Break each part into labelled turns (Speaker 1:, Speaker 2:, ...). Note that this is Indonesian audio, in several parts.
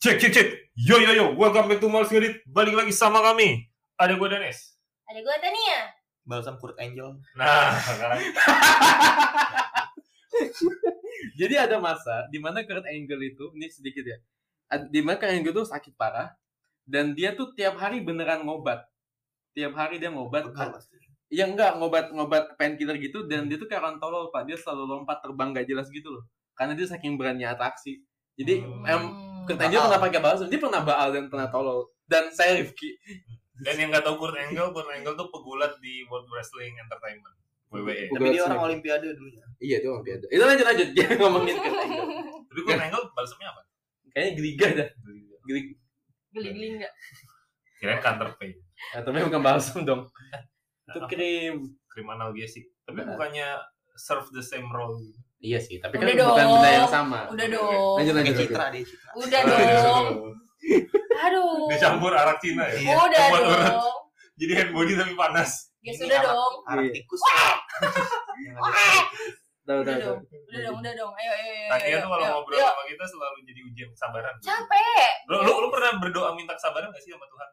Speaker 1: Cek cek cek. Yo yo yo, welcome back to Mars Ngedit. Balik lagi sama kami. Ada gue Danes.
Speaker 2: Ada ya? gue Tania.
Speaker 3: balsam Kurt Angel.
Speaker 1: Nah, sekarang
Speaker 3: Jadi ada masa di mana Kurt Angel itu ini sedikit ya. ad- Di mana Kurt Angel itu sakit parah dan dia tuh tiap hari beneran ngobat. Tiap hari dia
Speaker 4: Kan
Speaker 3: ngobat. Ya enggak ngobat ngobat painkiller gitu dan dia tuh kayak orang tolol Pak. Dia selalu lompat terbang gak jelas gitu loh. Karena dia saking berani atraksi. Jadi
Speaker 1: Hmm.
Speaker 3: em Kurt Angel
Speaker 1: Baal.
Speaker 3: pernah pakai balsam, dia pernah baal dan pernah tolol. Dan saya Rifki.
Speaker 1: dan yang nggak tahu Kurt Angle, Kurt Angle tuh pegulat di World Wrestling Entertainment. E. WWE.
Speaker 3: Bukan
Speaker 4: Tapi dia orang
Speaker 3: sering.
Speaker 4: olimpiade dulu ya.
Speaker 3: Iya itu olimpiade. Itu lanjut lanjut dia ngomongin Kurt Angel.
Speaker 1: Tapi Kurt Angle balsamnya apa?
Speaker 3: Kayaknya geliga dah. Geliga.
Speaker 2: Geli-geli enggak?
Speaker 1: Kirain counter pain.
Speaker 3: Atau memang bukan balsam dong. Itu krim.
Speaker 1: Krim analgesik. Tapi
Speaker 3: Nah.
Speaker 1: bukannya serve the same role.
Speaker 3: Iya sih, tapi
Speaker 2: Udah
Speaker 3: kan bukan
Speaker 2: dong.
Speaker 3: benda yang sama.
Speaker 2: Udah
Speaker 1: Oke,
Speaker 2: dong.
Speaker 3: Lanjut
Speaker 4: Dia
Speaker 3: lanjut. lanjut.
Speaker 4: Citra, dia Citra.
Speaker 2: Udah
Speaker 1: Ah,
Speaker 2: dong.
Speaker 1: disuruh.
Speaker 2: Aduh.
Speaker 1: Oh.
Speaker 2: Oh,
Speaker 1: Dicampur arak Cina ya.
Speaker 2: Udah
Speaker 1: Buat urat.
Speaker 2: dong.
Speaker 1: Jadi hand body tapi panas.
Speaker 2: Ya
Speaker 4: Ini
Speaker 2: sudah
Speaker 4: anak-
Speaker 2: dong. Ah!
Speaker 4: Anak
Speaker 3: Iya.
Speaker 4: tikus. Yang ada
Speaker 3: Tahu
Speaker 2: Udah
Speaker 3: tahu tahu.
Speaker 2: dong. Udah dong, udah dong. Ayo ayo ayo.
Speaker 1: Tania
Speaker 2: ayo,
Speaker 1: tuh kalau
Speaker 2: ayo,
Speaker 1: ngobrol
Speaker 2: ayo.
Speaker 1: sama kita selalu jadi ujian kesabaran.
Speaker 2: iya, Capek.
Speaker 1: Lu, lu, lu pernah berdoa minta kesabaran gak sih sama Tuhan?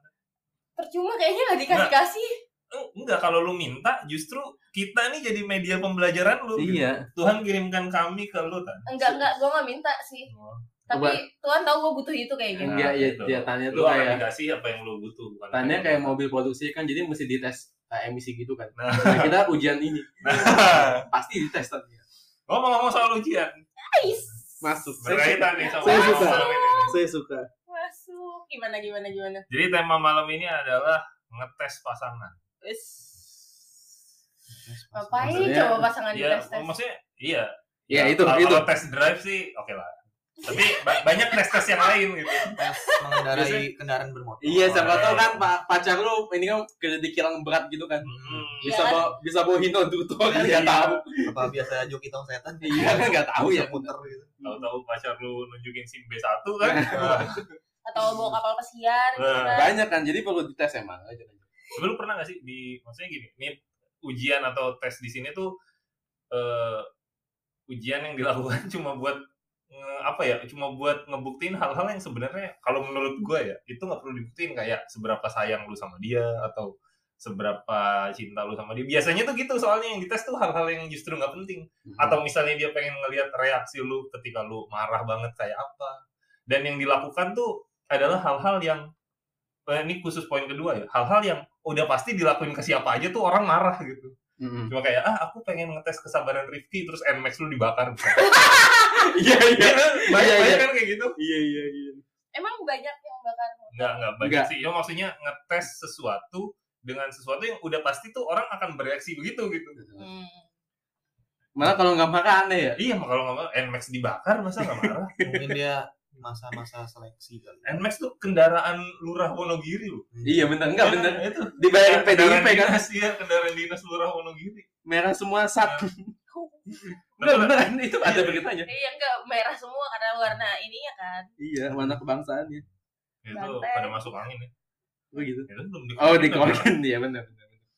Speaker 2: Percuma kayaknya enggak dikasih-kasih.
Speaker 1: Eng- Oh, Enggak, kalau lu minta justru kita nih jadi media pembelajaran lu.
Speaker 3: Iya.
Speaker 1: Tuhan kirimkan kami ke lu Oh. kan.
Speaker 2: Enggak, enggak. Gue nggak minta sih. Tapi
Speaker 3: Coba.
Speaker 2: Tuhan tahu gue butuh itu kayaknya.
Speaker 1: Nah,
Speaker 3: Enggak ya
Speaker 1: gitu.
Speaker 3: dia tanya
Speaker 1: Lu
Speaker 3: tuh
Speaker 1: akan
Speaker 3: kayak
Speaker 1: dikasih apa yang lu butuh bukan apa
Speaker 3: tanya
Speaker 1: yang
Speaker 3: kayak
Speaker 1: lu-
Speaker 3: mobil produksi kan jadi mesti dites eh, emisi gitu kan.
Speaker 1: Nah.
Speaker 3: Nah, kita ujian ini
Speaker 1: Nah,
Speaker 3: pasti dites tadi.
Speaker 1: ngomong-ngomong soal ujian,
Speaker 2: Ais.
Speaker 3: Masuk. Saya suka.
Speaker 1: berkaitan nih sama
Speaker 3: Saya
Speaker 1: tema
Speaker 3: suka.
Speaker 1: malam ini.
Speaker 3: Saya suka.
Speaker 2: Masuk. Gimana gimana gimana.
Speaker 1: Jadi tema malam ini adalah ngetes pasangan.
Speaker 2: Wis. Ngapain
Speaker 3: Maksudnya,
Speaker 2: coba pasangan di
Speaker 1: Iya,
Speaker 2: tes tes?
Speaker 1: maksudnya iya.
Speaker 3: Ya, itu,
Speaker 1: kalau,
Speaker 3: itu.
Speaker 1: kalau tes drive sih oke lah. Tapi ba- banyak tes-tes yang lain gitu.
Speaker 4: Tes mengendarai kendaraan bermotor.
Speaker 3: Iya, siapa tahu kan Pak pacar lu ini kan kerja di kilang berat gitu kan.
Speaker 1: Hmm.
Speaker 3: Bisa
Speaker 2: Iya.
Speaker 3: bawa bisa bawa Hino Duto kan
Speaker 1: Iya.
Speaker 3: enggak tahu.
Speaker 4: Apa biasa joki tong setan?
Speaker 3: Iya kan enggak tahu ya.
Speaker 4: Muter gitu.
Speaker 1: Tahu-tahu pacar lu nunjukin SIM B1 kan.
Speaker 2: Atau bawa kapal pesiar? gitu
Speaker 1: Nah.
Speaker 2: kan?
Speaker 3: Banyak kan jadi perlu dites emang.
Speaker 1: Tapi lu pernah gak sih di maksudnya gini, ini ujian atau tes di sini tuh eh ujian yang dilakukan cuma buat nge- apa ya cuma buat ngebuktiin hal-hal yang sebenarnya kalau menurut gue ya itu nggak perlu dibuktiin kayak seberapa sayang lu sama dia atau seberapa cinta lu sama dia biasanya tuh gitu soalnya yang dites tuh hal-hal yang justru nggak penting atau misalnya dia pengen ngelihat reaksi lu ketika lu marah banget kayak apa dan yang dilakukan tuh adalah hal-hal yang eh, ini khusus poin kedua ya hal-hal yang udah pasti dilakuin ke siapa aja tuh orang marah gitu
Speaker 3: Mm-mm.
Speaker 1: cuma kayak ah aku pengen ngetes kesabaran Rifki terus Nmax lu dibakar
Speaker 3: Iya iya.
Speaker 1: Iya kan? banyak
Speaker 3: Iya,
Speaker 1: banyak
Speaker 3: iya.
Speaker 1: kan kayak gitu
Speaker 3: Iya iya iya.
Speaker 2: Emang banyak yang bakar.
Speaker 1: nggak nggak banyak
Speaker 3: Nggak.
Speaker 1: sih ya maksudnya ngetes sesuatu dengan sesuatu yang udah pasti tuh orang akan bereaksi begitu gitu
Speaker 2: Hmm.
Speaker 3: Malah kalau nggak marah aneh ya.
Speaker 1: iya mah kalau nggak mau Nmax dibakar masa nggak marah
Speaker 4: Mungkin dia masa-masa seleksi kali.
Speaker 1: Nmax tuh kendaraan lurah Wonogiri loh
Speaker 3: Iya bener enggak
Speaker 1: Iya,
Speaker 3: bener.
Speaker 1: itu
Speaker 3: Dibayarin
Speaker 1: kendaraan
Speaker 3: PDIP kan.
Speaker 1: dinas iya kendaraan dinas lurah Wonogiri
Speaker 3: Merah semua sat. Enggak
Speaker 1: Betul.
Speaker 3: beneran itu ada beritanya.
Speaker 2: Iya enggak merah semua karena warna ininya kan.
Speaker 3: Iya, warna kebangsaannya.
Speaker 1: Ya, itu
Speaker 2: Banteng.
Speaker 1: pada masuk angin ya
Speaker 3: Begitu.
Speaker 1: Itu belum
Speaker 3: Oh, di
Speaker 1: dikeluarin.
Speaker 3: Korkin ya bener. bener, bener.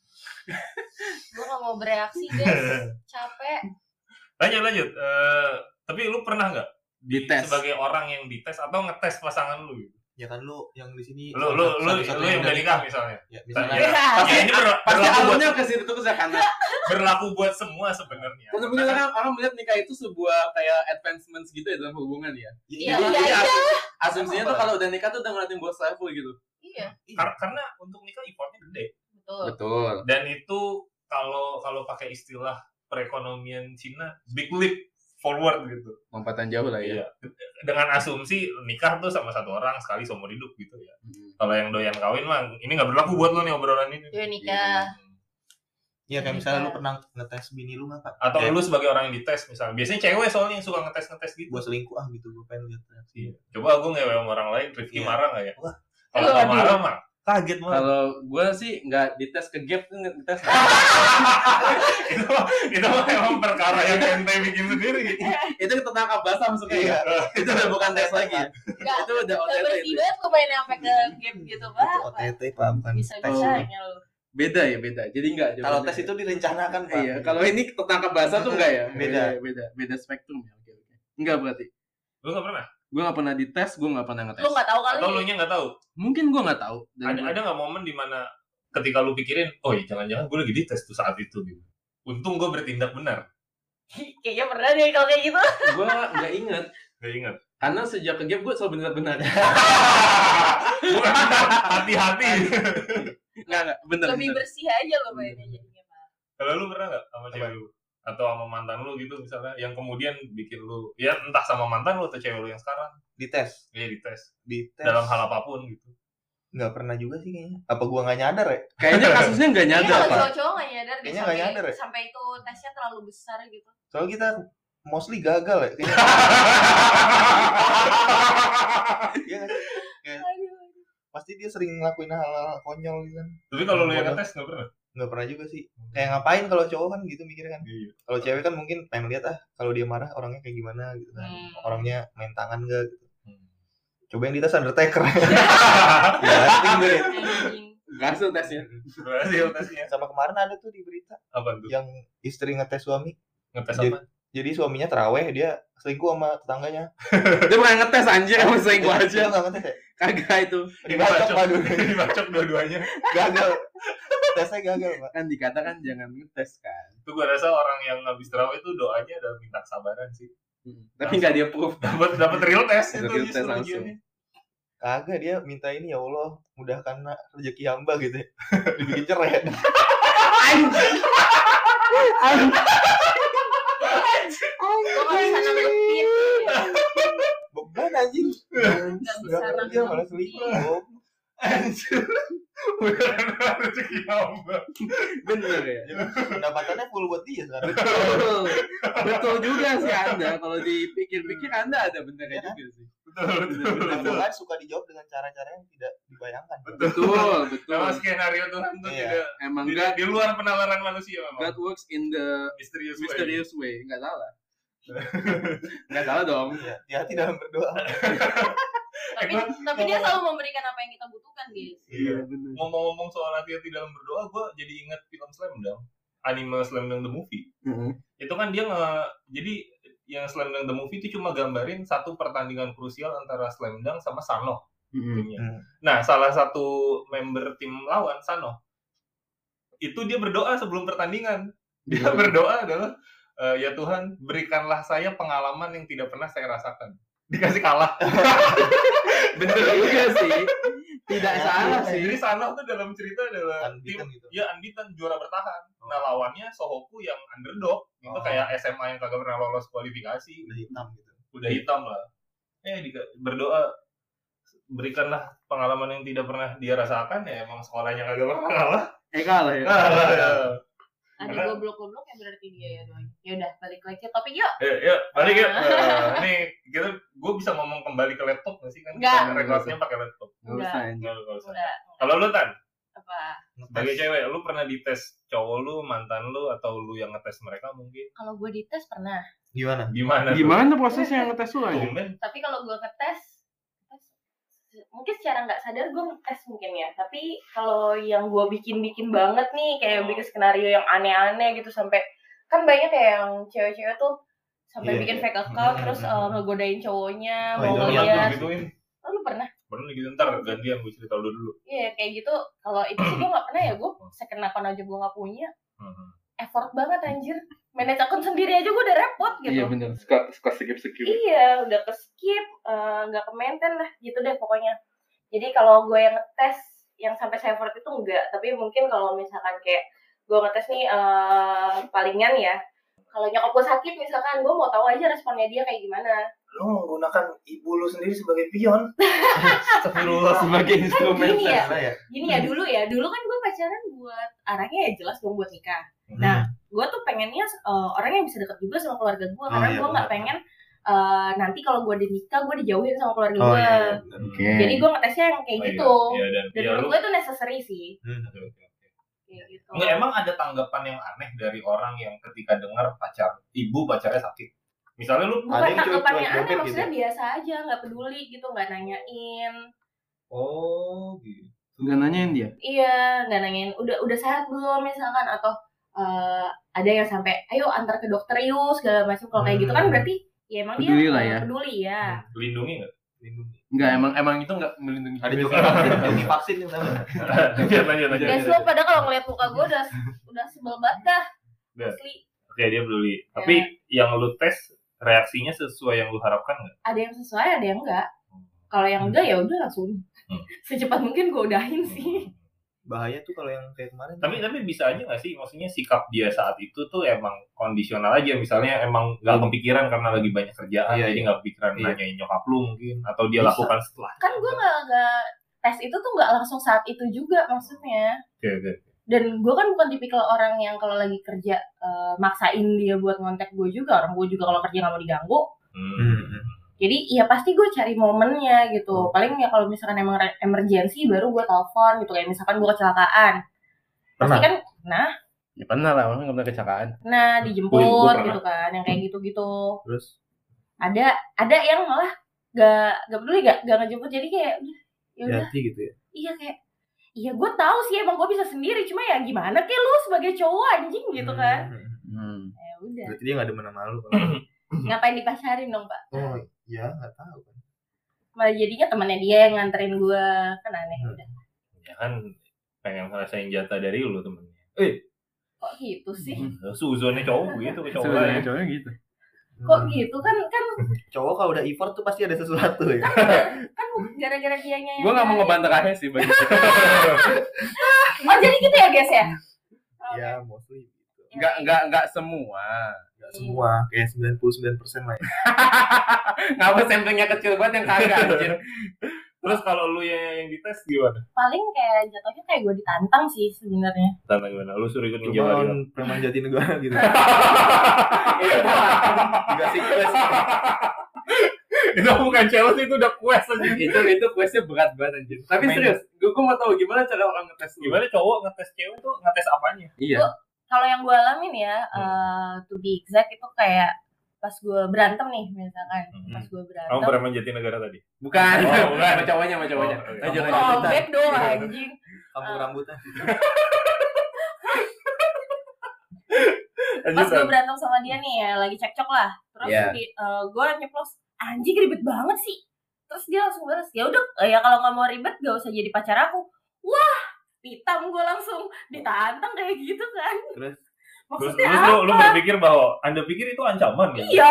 Speaker 2: Gue gak mau bereaksi guys. Capek.
Speaker 1: lanjut lanjut Eh, tapi lu pernah nggak di-
Speaker 3: Dites.
Speaker 1: sebagai orang yang dites atau ngetes pasangan lu gitu?
Speaker 4: Ya kan lu yang di
Speaker 3: Iya,
Speaker 4: sini.
Speaker 1: lu lu lu, lu yang udah nikah misalnya Iya.
Speaker 4: Ya, misalnya.
Speaker 3: Pasti-
Speaker 1: ya, ini ber-
Speaker 3: Pasti
Speaker 1: berlaku, buat,
Speaker 3: alurnya ke situ terus ya karena
Speaker 1: berlaku buat semua sebenarnya
Speaker 3: karena sebenarnya kan orang melihat nikah itu sebuah kayak advancement gitu ya dalam hubungan ya.
Speaker 2: Iya,
Speaker 3: Jadi,
Speaker 2: iya,
Speaker 3: iya,
Speaker 2: iya.
Speaker 3: Asumsinya tuh kalau udah nikah tuh udah ngeliatin bos level gitu.
Speaker 2: Iya,
Speaker 1: Kar- karena untuk nikah importnya gede
Speaker 2: betul.
Speaker 3: Betul.
Speaker 1: dan itu kalau kalau pakai istilah perekonomian Cina big leap forward gitu
Speaker 3: Lompatan jauh lah ya.
Speaker 1: Iya. dengan asumsi nikah tuh sama satu orang sekali seumur hidup gitu ya
Speaker 3: Hmm.
Speaker 1: kalau yang doyan kawin mah ini nggak berlaku buat lo nih obrolan ini
Speaker 2: Dia nikah.
Speaker 4: Iya kayak misalnya lu pernah ngetes bini lu nggak kak?
Speaker 1: atau
Speaker 4: Kayak
Speaker 1: lu sebagai orang yang dites misalnya biasanya cewek soalnya yang suka ngetes ngetes gitu
Speaker 4: gua selingkuh ah gitu gua pengen lihat reaksi.
Speaker 1: Iya. coba aku ngewe sama orang lain Rifki
Speaker 4: Iya.
Speaker 1: marah nggak ya
Speaker 4: Wah.
Speaker 1: kalau nggak
Speaker 3: Aduh.
Speaker 1: marah mah kaget mah
Speaker 3: Kalau gue sih nggak dites ke gap tuh nggak dites.
Speaker 1: itu mah itu mah emang perkara yang ente bikin sendiri
Speaker 3: itu ketangkap basah masuknya ya. Itu udah bukan tes lagi. ya.
Speaker 4: Iya.
Speaker 2: Enggak.
Speaker 3: Itu udah
Speaker 2: Gak
Speaker 3: OTT.
Speaker 2: bersih
Speaker 3: itu.
Speaker 2: banget lu main sampai ke game gitu, Pak.
Speaker 4: Oh,
Speaker 2: ya.
Speaker 4: Itu OTT pak bukan
Speaker 2: Bisa
Speaker 4: tes.
Speaker 2: bisanya lu.
Speaker 3: Beda ya beda. Jadi nggak.
Speaker 4: Kalau
Speaker 3: jawabannya.
Speaker 4: tes itu direncanakan pak.
Speaker 3: ya. Iya, kalau ini ketangkap basah tuh enggak ya?
Speaker 4: Beda.
Speaker 3: beda, beda, beda spektrum ya. Oke, oke. Enggak berarti.
Speaker 1: lu nggak pernah
Speaker 3: gue nggak pernah dites gue nggak pernah ngetes
Speaker 2: Lu nggak tahu kali.
Speaker 1: atau lu nya nggak tahu
Speaker 3: mungkin gue nggak tahu dan
Speaker 1: ada ada nggak momen dimana ketika lu pikirin oh ya jangan-jangan gue lagi dites tuh saat itu gitu untung gue bertindak benar
Speaker 2: Kayaknya pernah deh kalau kayak gitu.
Speaker 3: gue nggak inget
Speaker 1: gak ingat
Speaker 3: karena sejak ke game gue selalu benar-benar
Speaker 1: hati-hati
Speaker 3: nggak nggak bener
Speaker 2: Lebih
Speaker 3: bener.
Speaker 2: bersih aja lo mainnya jadinya. Pak.
Speaker 1: kalau lu pernah nggak sama cewek lu atau sama mantan lu gitu misalnya yang kemudian bikin lu ya entah sama mantan lu atau cewek lu yang sekarang
Speaker 4: dites
Speaker 1: ya dites
Speaker 4: dites
Speaker 3: Nah.
Speaker 1: dalam hal apapun gitu
Speaker 4: nggak pernah juga sih kayaknya apa gua nggak nyadar ya
Speaker 3: kayaknya kasusnya nggak
Speaker 2: Kayaknya
Speaker 3: nyadar
Speaker 2: kalau
Speaker 3: pak
Speaker 2: cowok-cowok nggak nyadar deh
Speaker 4: Kayaknya
Speaker 2: sampai,
Speaker 4: nggak nyadar ya?
Speaker 2: sampai itu tesnya terlalu besar gitu.
Speaker 4: soalnya kita mostly gagal ya kayaknya Iya nggak sih?
Speaker 2: Aduh.
Speaker 4: pasti dia sering ngelakuin hal-hal konyol gitu kan
Speaker 1: tapi kalau lu yang ngetes nggak pernah
Speaker 4: nggak pernah juga sih kayak ngapain kalau cowok kan gitu mikirnya kan
Speaker 1: Iya.
Speaker 4: kalau cewek kan mungkin pengen lihat ah kalau dia marah orangnya kayak gimana gitu kan
Speaker 2: Hmm.
Speaker 4: orangnya main tangan gak gitu
Speaker 1: Hmm.
Speaker 4: coba yang dites undertaker Banting gue.
Speaker 2: Anjing.
Speaker 3: kasus tesnya
Speaker 1: berhasil tesnya
Speaker 4: sama kemarin ada tuh di berita
Speaker 1: apa tuh
Speaker 4: yang istri ngetes suami
Speaker 1: ngetes
Speaker 4: Jadi-
Speaker 1: apa
Speaker 4: jadi suaminya teraweh dia selingkuh sama tetangganya
Speaker 3: dia bukan ngetes anjir
Speaker 4: Iya,
Speaker 3: sama selingkuh
Speaker 4: Dia-
Speaker 3: aja
Speaker 4: dia nggak ngetes ya
Speaker 3: kagak itu
Speaker 4: dibacok padu
Speaker 1: dibacok dua-duanya
Speaker 4: gagal tesnya gagal pak
Speaker 3: kan dikatakan jangan ngetes kan
Speaker 1: itu gua rasa orang yang habis terawih itu doanya adalah minta kesabaran sih
Speaker 3: tapi nggak dia proof
Speaker 1: dapat dapat real test itu
Speaker 3: Real
Speaker 1: justru
Speaker 3: test langsung.
Speaker 1: ujiannya.
Speaker 4: kagak dia minta ini ya Allah mudahkan nak rezeki hamba gitu ya. dibikin cerai
Speaker 3: anjir
Speaker 2: Lo nggak bisa nanggepin.
Speaker 4: beban anjing
Speaker 2: Nggak bisa
Speaker 4: nggak kerja
Speaker 2: nanggepin.
Speaker 4: malah selingkuh
Speaker 1: Anjir. Beneran rezeki hamba.
Speaker 3: bener ya
Speaker 4: Jadi pendapatannya full buat dia sekarang
Speaker 3: betul betul juga sih anda kalau dipikir-pikir anda ada benernya juga sih
Speaker 1: Betul, betul, betul.
Speaker 4: Bahkan suka dijawab dengan cara-cara yang tidak dibayangkan
Speaker 3: betul
Speaker 1: Memang
Speaker 3: betul
Speaker 1: skenario Tuhan tuh
Speaker 4: Iya.
Speaker 1: tidak
Speaker 3: emang
Speaker 1: tidak
Speaker 3: God
Speaker 1: di luar penalaran manusia
Speaker 3: God
Speaker 1: memang.
Speaker 3: works in the
Speaker 1: Misterius. way.
Speaker 3: mysterious way nggak salah nggak salah dong
Speaker 4: Iya, hati-hati dalam berdoa
Speaker 2: Tapi tapi dia selalu memberikan apa yang kita butuhkan guys.
Speaker 1: Iya.
Speaker 3: bener
Speaker 1: Ngomong-ngomong soal hati-hati dalam berdoa, gue jadi ingat film Slam Dunk. Anime Slam Dunk The Movie. Itu kan dia nge... Jadi yang Slam Dunk The Movie itu cuma gambarin satu pertandingan krusial antara Slam Dunk sama Sano.
Speaker 3: Iya,
Speaker 1: timnya.
Speaker 4: Hmm.
Speaker 1: Nah, salah satu member tim lawan, Sano, itu dia berdoa sebelum pertandingan. dia
Speaker 4: Iya.
Speaker 1: berdoa adalah "Eh, ya Tuhan berikanlah saya pengalaman yang tidak pernah saya rasakan dikasih kalah
Speaker 3: bener juga sih tidak
Speaker 4: Ya,
Speaker 3: salah
Speaker 4: iya.
Speaker 3: sih
Speaker 1: Ah, jadi Sanoh tuh dalam cerita adalah
Speaker 4: Unbeaten
Speaker 1: tim
Speaker 4: gitu
Speaker 1: ya unbeaten juara bertahan nah lawannya Sohoku yang underdog itu
Speaker 4: Oh.
Speaker 1: kayak SMA yang kagak pernah lolos kualifikasi
Speaker 4: udah hitam gitu
Speaker 1: udah hitam lah eh dika- berdoa berikanlah pengalaman yang tidak pernah dia rasakan ya emang sekolahnya kagak pernah kalah
Speaker 3: eh kalah ya
Speaker 1: Kalah, ya.
Speaker 2: Ada
Speaker 1: Karena-
Speaker 2: goblok-goblok yang berarti dia ya doang. Ya udah balik lagi ke topik
Speaker 4: Iya.
Speaker 2: yuk.
Speaker 1: Ya, ya, balik ya. Nah, ini kita, gue bisa ngomong kembali ke laptop nggak sih kan?
Speaker 2: Nggak.
Speaker 1: Kita Recordnya pakai laptop.
Speaker 3: nggak usah anjir.
Speaker 1: Nggak, nggak usah.
Speaker 2: Udah
Speaker 1: Kalau lu tan,
Speaker 2: apa?
Speaker 1: sebagai cewek, lu pernah dites cowok lu, mantan lu, atau lu yang ngetes mereka mungkin?
Speaker 2: Kalau gue dites pernah. Nah,
Speaker 4: gimana
Speaker 1: Gimana? tuh?
Speaker 3: gimana prosesnya ngetes lu
Speaker 4: Iya.
Speaker 3: aja
Speaker 1: Tumben.
Speaker 2: Tapi kalau gue ngetes, ngetes, mungkin secara nggak sadar gue ngetes mungkin ya. Tapi kalau yang gue bikin-bikin banget nih, kayak
Speaker 4: Oh.
Speaker 2: bikin skenario yang aneh-aneh gitu sampai kan banyak kayak yang cewek-cewek tuh sampai
Speaker 4: Iya,
Speaker 2: bikin
Speaker 4: iya.
Speaker 2: fake account
Speaker 4: Hmm.
Speaker 2: terus eh, ngegodain cowoknya mau
Speaker 4: Oh, itu
Speaker 1: Pernah
Speaker 4: iya.
Speaker 1: gue
Speaker 2: ngeliat.
Speaker 1: gituin.
Speaker 2: Oh, lu pernah?
Speaker 1: Pernah gitu ntar gantian gue cerita lu dulu.
Speaker 2: Iya kayak gitu. Kalau itu sih gue nggak pernah ya gue
Speaker 4: Oh.
Speaker 2: second account aja gue nggak punya.
Speaker 1: Mhm.
Speaker 2: Effort banget anjir. Manage account sendiri aja gue udah repot gitu.
Speaker 3: iya bener suka suka skip skip
Speaker 2: Iya, udah ke skip, eh, nggak ke maintain lah, gitu deh pokoknya. Jadi kalau gue yang ngetes, yang sampai Severt itu enggak, tapi mungkin kalau misalkan kayak gue ngetes nih eh, palingan ya. Kalau nyokap gue sakit misalkan, gue mau tahu aja responnya dia kayak gimana.
Speaker 4: lu menggunakan ibu lu sendiri sebagai pion
Speaker 1: Astagfirullah.
Speaker 3: sebagai instrumen
Speaker 2: Gini ya,
Speaker 4: Karena ya
Speaker 2: gini
Speaker 3: Hmm.
Speaker 2: ya dulu ya, dulu kan gue pacaran buat arahnya ya jelas dong buat nikah. Nah,
Speaker 4: Hmm.
Speaker 2: gue tuh pengennya eh, orang yang bisa deket juga sama keluarga gue, karena
Speaker 4: iya,
Speaker 2: gue nggak
Speaker 4: benar.
Speaker 2: pengen eh, nanti kalau gue udah nikah gue dijauhin sama keluarga
Speaker 4: oh
Speaker 2: gue.
Speaker 4: iya
Speaker 2: Jadi gue ngetesnya yang kayak
Speaker 1: Oh,
Speaker 2: gitu.
Speaker 1: Iya, dan ya,
Speaker 2: dan
Speaker 1: lu.
Speaker 2: menurut gue itu necessary sih
Speaker 4: Hmm.
Speaker 1: Oke, oke, oke.
Speaker 2: kayak gitu
Speaker 1: Nggak, emang ada tanggapan yang aneh dari orang yang ketika dengar pacar, ibu pacarnya sakit. Misalnya lu,
Speaker 4: Ada
Speaker 2: bukan
Speaker 4: yang
Speaker 2: tanggapan
Speaker 4: cuek-cuek
Speaker 2: yang aneh
Speaker 4: dompet
Speaker 2: maksudnya biasa aja nggak peduli gitu nggak nanyain
Speaker 1: oh gitu.
Speaker 3: nggak nanyain dia
Speaker 2: iya nggak nanyain udah udah sehat belum misalkan atau eh, ada yang sampai ayo antar ke dokter yuk segala macam kalau kayak gitu kan
Speaker 4: Hmm.
Speaker 2: berarti ya emang
Speaker 3: Peduli
Speaker 2: dia
Speaker 3: lah
Speaker 2: eh,
Speaker 3: ya.
Speaker 2: peduli ya
Speaker 1: lindungi nggak
Speaker 4: Lindungi.
Speaker 3: Enggak, emang emang itu enggak melindungi.
Speaker 4: Ada
Speaker 3: diri
Speaker 4: joki,
Speaker 3: sendiri.
Speaker 4: joki vaksin yang sama.
Speaker 1: lanjut lanjut
Speaker 4: Iya,
Speaker 1: lanjut
Speaker 2: Guys lu pada kalau ngeliat muka gue udah udah sebel banget dah.
Speaker 1: Udah.
Speaker 2: Asli
Speaker 1: oke dia peduli tapi yang lu tes reaksinya sesuai yang lu harapkan nggak
Speaker 2: ada yang sesuai ada yang enggak. Kalau yang enggak ya udah langsung
Speaker 1: Hmm.
Speaker 2: secepat mungkin gue udahin sih.
Speaker 4: Bahaya tuh kalau yang kayak kemarin.
Speaker 1: tapi tapi bisa aja nggak sih maksudnya sikap dia saat itu tuh emang kondisional aja misalnya emang nggak kepikiran karena lagi banyak kerjaan
Speaker 4: Iya,
Speaker 1: jadi
Speaker 4: iya.
Speaker 1: nggak kepikiran
Speaker 4: Iya.
Speaker 1: nanyain nyokap lu mungkin atau dia
Speaker 4: Bisa.
Speaker 1: lakukan setelah
Speaker 2: Kan gue nggak nggak tes itu tuh nggak langsung saat itu juga maksudnya.
Speaker 1: oke oke
Speaker 2: Dan gue kan bukan tipikal orang yang kalau lagi kerja eh, maksain dia buat ngontek gue juga. Orang gue juga kalau kerja nggak mau diganggu.
Speaker 1: Hmm.
Speaker 4: Hmm.
Speaker 2: Jadi ya pasti gue cari momennya gitu. Paling ya kalau misalkan emang re- emergency baru gue telepon gitu. Kayak misalkan gue kecelakaan. Pasti
Speaker 3: Pernah?
Speaker 2: kan
Speaker 3: Ya pernah lah, orang enggak pernah kecelakaan.
Speaker 1: Gua-
Speaker 2: nah
Speaker 1: gua
Speaker 2: dijemput
Speaker 1: pernah.
Speaker 2: gitu kan yang kayak gitu-gitu
Speaker 4: Terus
Speaker 2: ada ada yang malah gak gak peduli gak gak ngejemput jadi kayak udah, ya udah
Speaker 4: hati gitu ya.
Speaker 2: iya kayak iya gue tahu sih emang gue bisa sendiri cuma ya gimana kayak lu sebagai cowok anjing gitu kan
Speaker 4: Hmm.
Speaker 3: Hmm.
Speaker 2: ya udah
Speaker 4: Berarti dia nggak demen sama lu. kalau-
Speaker 2: ngapain dipasarin dong pak
Speaker 4: Oh,
Speaker 2: Iya.
Speaker 4: ya nggak tahu kan.
Speaker 2: malah jadinya temannya dia yang nganterin gue kan aneh
Speaker 4: Hmm.
Speaker 2: udah
Speaker 1: ya kan pengen ngerasain jatah dari lu temennya eh
Speaker 2: kok gitu sih
Speaker 1: Hmm. suzonnya cowok gitu ke cowok
Speaker 3: Sebenarnya
Speaker 1: lain.
Speaker 3: cowoknya gitu.
Speaker 2: kok
Speaker 4: Hmm.
Speaker 2: gitu kan kan
Speaker 4: Cowok kalau udah effort tuh pasti ada sesuatu ya.
Speaker 2: kan gara-gara dianya yang
Speaker 3: Gue nggak mau
Speaker 2: nyari.
Speaker 3: ngebanter aja sih bagi
Speaker 2: oh jadi gitu ya guys ya Oke.
Speaker 4: ya, mostly
Speaker 3: Enggak enggak enggak semua.
Speaker 4: nggak
Speaker 2: Iya.
Speaker 4: semua kayak 99% lah ya.
Speaker 3: Ngapa samplingnya kecil banget yang kagak anjir.
Speaker 1: terus kalau lu yang yang dites gimana
Speaker 2: paling kayak jatuhnya kayak gue ditantang sih sebenarnya
Speaker 1: tantang gimana lu suruh ikut
Speaker 4: Cuma
Speaker 1: menjawab
Speaker 4: lawan preman jati negara gitu.
Speaker 3: Enggak sih quest.
Speaker 1: itu bukan challenge itu udah quest aja
Speaker 3: itu itu questnya berat banget anjir. Tapi
Speaker 1: Main.
Speaker 3: serius, gue mau tahu gimana cara orang ngetes lu.
Speaker 1: gimana cowok ngetes cewek tuh ngetes apanya
Speaker 3: Iya.
Speaker 2: kalau yang gue alamin ya
Speaker 1: Hmm.
Speaker 2: eh, to be exact itu kayak pas gue berantem nih misalkan
Speaker 1: Hmm.
Speaker 2: pas gue
Speaker 1: kamu
Speaker 2: berantem
Speaker 1: pernah menjadi negara tadi
Speaker 3: Bukan.
Speaker 1: Oh, bukan.
Speaker 3: Sama cowoknya, sama cowoknya.
Speaker 1: Oh, oke.
Speaker 3: Lanjut,
Speaker 4: Kamu
Speaker 3: lanjut.
Speaker 2: Oh,
Speaker 4: Lanjutan.
Speaker 2: back dong
Speaker 1: Iya.
Speaker 2: anjing. Eh.
Speaker 4: Kampung rambutan.
Speaker 1: Iya,
Speaker 2: Pas gue berantem sama dia nih ya, lagi cekcok lah. Terus
Speaker 3: Iya.
Speaker 2: di, gue nyeplos, anjing ribet banget sih. Terus dia langsung balas, ya udah, eh, ya kalau nggak mau ribet gak usah jadi pacar aku. Wah, hitam gue langsung ditantang kayak gitu kan.
Speaker 4: Terus?
Speaker 1: Terus,
Speaker 2: Maksudnya
Speaker 1: terus
Speaker 2: apa?
Speaker 1: lu, lu berpikir bahwa anda pikir itu ancaman gitu?
Speaker 2: Iya,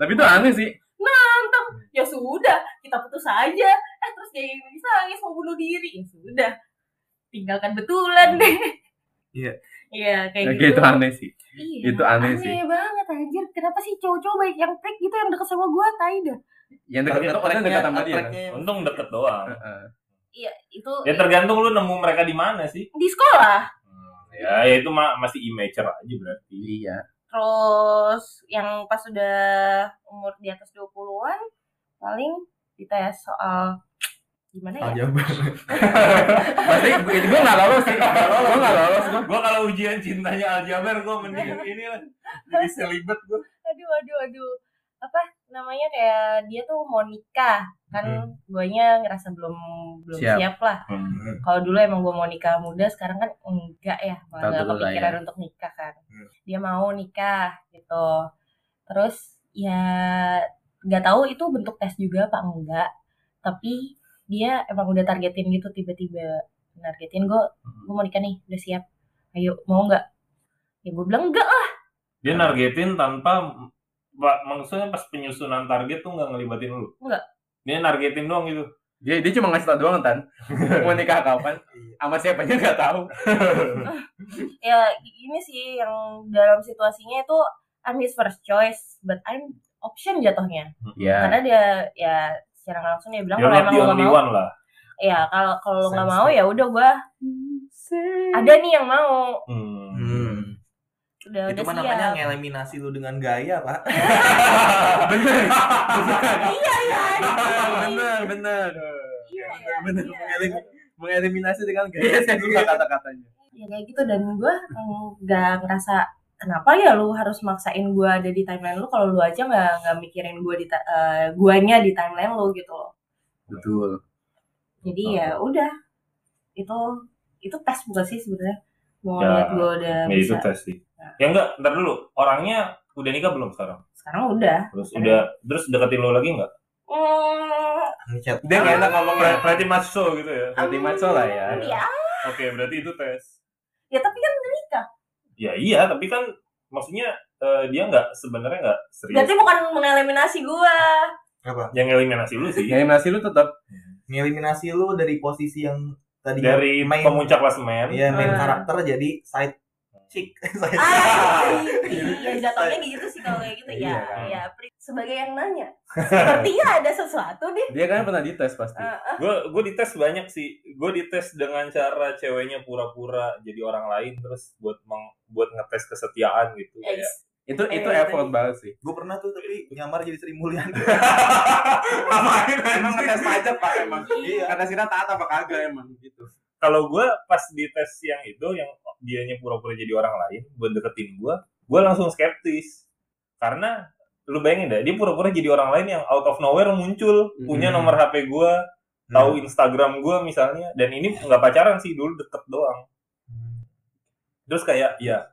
Speaker 3: Tapi itu aneh sih.
Speaker 2: tantang. Ya sudah, kita putus aja. Eh terus dia yang nangis nangis mau bunuh diri. Ya sudah, tinggalkan betulan deh.
Speaker 4: Iya.
Speaker 2: Iya kayak
Speaker 3: Hmm. Oke,
Speaker 2: gitu.
Speaker 3: itu aneh sih.
Speaker 2: Iya,
Speaker 3: Itu aneh sih.
Speaker 2: banget anjir. Kenapa sih cowok-cowok baik yang freak gitu yang deket sama gue, tai dah.
Speaker 3: Yang dekat orang dekat sama dia. kan?
Speaker 1: Untung deket doang.
Speaker 3: Heeh.
Speaker 2: Iya, itu
Speaker 1: Ya tergantung lu nemu mereka di mana sih.
Speaker 2: di sekolah.
Speaker 1: Ya, ya itu mah masih immature aja berarti.
Speaker 3: Iya.
Speaker 2: Terus yang pas sudah umur di atas 20-an paling dites soal gimana ya?
Speaker 4: Aljabar.
Speaker 3: Pasti gue nggak lolos sih. Gue nggak lolos.
Speaker 1: Gua kalau ujian cintanya Aljabar gua mending ini lah. Jadi selibet gua.
Speaker 2: Aduh, aduh, aduh. Apa namanya kayak dia tuh mau nikah. Kan guanya ngerasa belum belum
Speaker 3: Hmm. Siap.
Speaker 2: siap, lah.
Speaker 3: Hmm.
Speaker 2: Kalau dulu emang gue mau nikah muda, sekarang kan enggak ya, malah
Speaker 3: Tahu
Speaker 2: nggak
Speaker 3: dulu lah
Speaker 2: kepikiran
Speaker 3: ya.
Speaker 2: untuk nikah kan.
Speaker 4: Hmm.
Speaker 2: Dia mau nikah gitu. Terus ya nggak tahu itu bentuk tes juga apa enggak. Tapi dia emang udah targetin gitu tiba-tiba targetin gue, gue mau nikah nih, udah siap. Ayo mau nggak? Ya gue bilang enggak lah.
Speaker 1: Dia nargetin tanpa Pak, maksudnya pas penyusunan target tuh nggak ngelibatin lu.
Speaker 2: Nggak.
Speaker 1: Dia nargetin doang gitu.
Speaker 3: Dia dia cuma ngasih tau doang tan. Mau nikah kapan? Sama siapanya nggak tahu.
Speaker 2: Ya ini sih yang dalam situasinya itu I'm his first choice, but I'm option jatuhnya.
Speaker 3: Iya.
Speaker 2: karena dia ya secara nggak langsung dia bilang
Speaker 1: You're not
Speaker 2: kalau emang
Speaker 1: the
Speaker 2: lo
Speaker 1: only
Speaker 2: nggak mau
Speaker 1: one lah.
Speaker 2: ya kalau kalau lo nggak
Speaker 4: Sense
Speaker 2: mau ya udah gua ada nih yang mau
Speaker 1: Hmm.
Speaker 4: Hmm.
Speaker 2: udah udah
Speaker 4: Itu
Speaker 2: ya.
Speaker 4: mah
Speaker 2: siap
Speaker 4: namanya ngeliminasi lu dengan gaya, Pak.
Speaker 2: iya iya iya
Speaker 3: Bener bener.
Speaker 2: iya
Speaker 3: Bener,
Speaker 2: iya.
Speaker 3: mengelim- Mengeliminasi dengan
Speaker 4: Iya,
Speaker 3: gaya saya suka kata-katanya.
Speaker 2: ya kayak gitu dan gua mm, nggak ngerasa kenapa ya lu harus maksain gua ada di timeline lu kalau lu aja nggak nggak mikirin gua di ta- eh, guanya di timeline lu gitu loh
Speaker 3: Betul.
Speaker 2: jadi ya udah itu itu tes bukan sih sebenarnya mau
Speaker 1: Ya,
Speaker 2: lihat gua udah
Speaker 1: Ya itu
Speaker 2: bisa
Speaker 1: tes sih. Ya enggak, ntar dulu. Orangnya udah nikah belum sekarang?
Speaker 5: sekarang udah
Speaker 1: Terus udah terus deketin lo lagi nggak?
Speaker 2: Hmm,
Speaker 4: Ngechat.
Speaker 3: Dia
Speaker 5: Iya.
Speaker 3: nggak enak ngomongnya.
Speaker 1: Ber- Berarti maso gitu ya.
Speaker 3: Berarti maco lah ya.
Speaker 5: Hmm, ya
Speaker 1: Oke, berarti itu tes.
Speaker 5: ya tapi kan nikah
Speaker 1: Ya iya, tapi kan maksudnya eh, dia nggak sebenarnya nggak serius.
Speaker 3: Iya.
Speaker 5: berarti bukan mengeliminasi gua
Speaker 4: Apa?
Speaker 1: Yang eliminasi lu sih.
Speaker 3: Ya masih lu tetap
Speaker 4: Ngeliminasi lu dari posisi yang tadi
Speaker 1: Dari
Speaker 4: main
Speaker 1: pemuncak klasemen.
Speaker 4: Iya, main
Speaker 5: Ah.
Speaker 4: karakter jadi side chick. Side-
Speaker 5: ah iya jatuhnya gitu sih kalau kayak gitu
Speaker 3: Iya.
Speaker 5: ya ya Pri. sebagai yang nanya sepertinya ada sesuatu deh
Speaker 3: dia kan pernah dites pasti.
Speaker 5: Eh, eh.
Speaker 1: Gue gue dites banyak sih. Gue dites dengan cara ceweknya pura-pura jadi orang lain terus buat meng, buat ngetes kesetiaan gitu.
Speaker 5: Eh,
Speaker 1: Kayak,
Speaker 3: Itu
Speaker 5: Eh,
Speaker 3: itu
Speaker 5: iya,
Speaker 3: effort banget sih.
Speaker 4: Gue pernah tuh tapi nyamar jadi Sri Mulyani.
Speaker 1: Ngapain
Speaker 3: Emang ngetes pajak pak emang.
Speaker 4: Iya.
Speaker 3: Karena Sina taat apa kagak emang gitu.
Speaker 1: Kalau gue pas dites yang itu yang dianya pura-pura jadi orang lain buat deketin gue, gue langsung skeptis karena lu bayangin deh dia pura-pura jadi orang lain yang out of nowhere muncul punya
Speaker 4: Hmm.
Speaker 1: nomor HP gue tahu Instagram gue misalnya dan ini nggak pacaran sih dulu deket doang terus kayak ya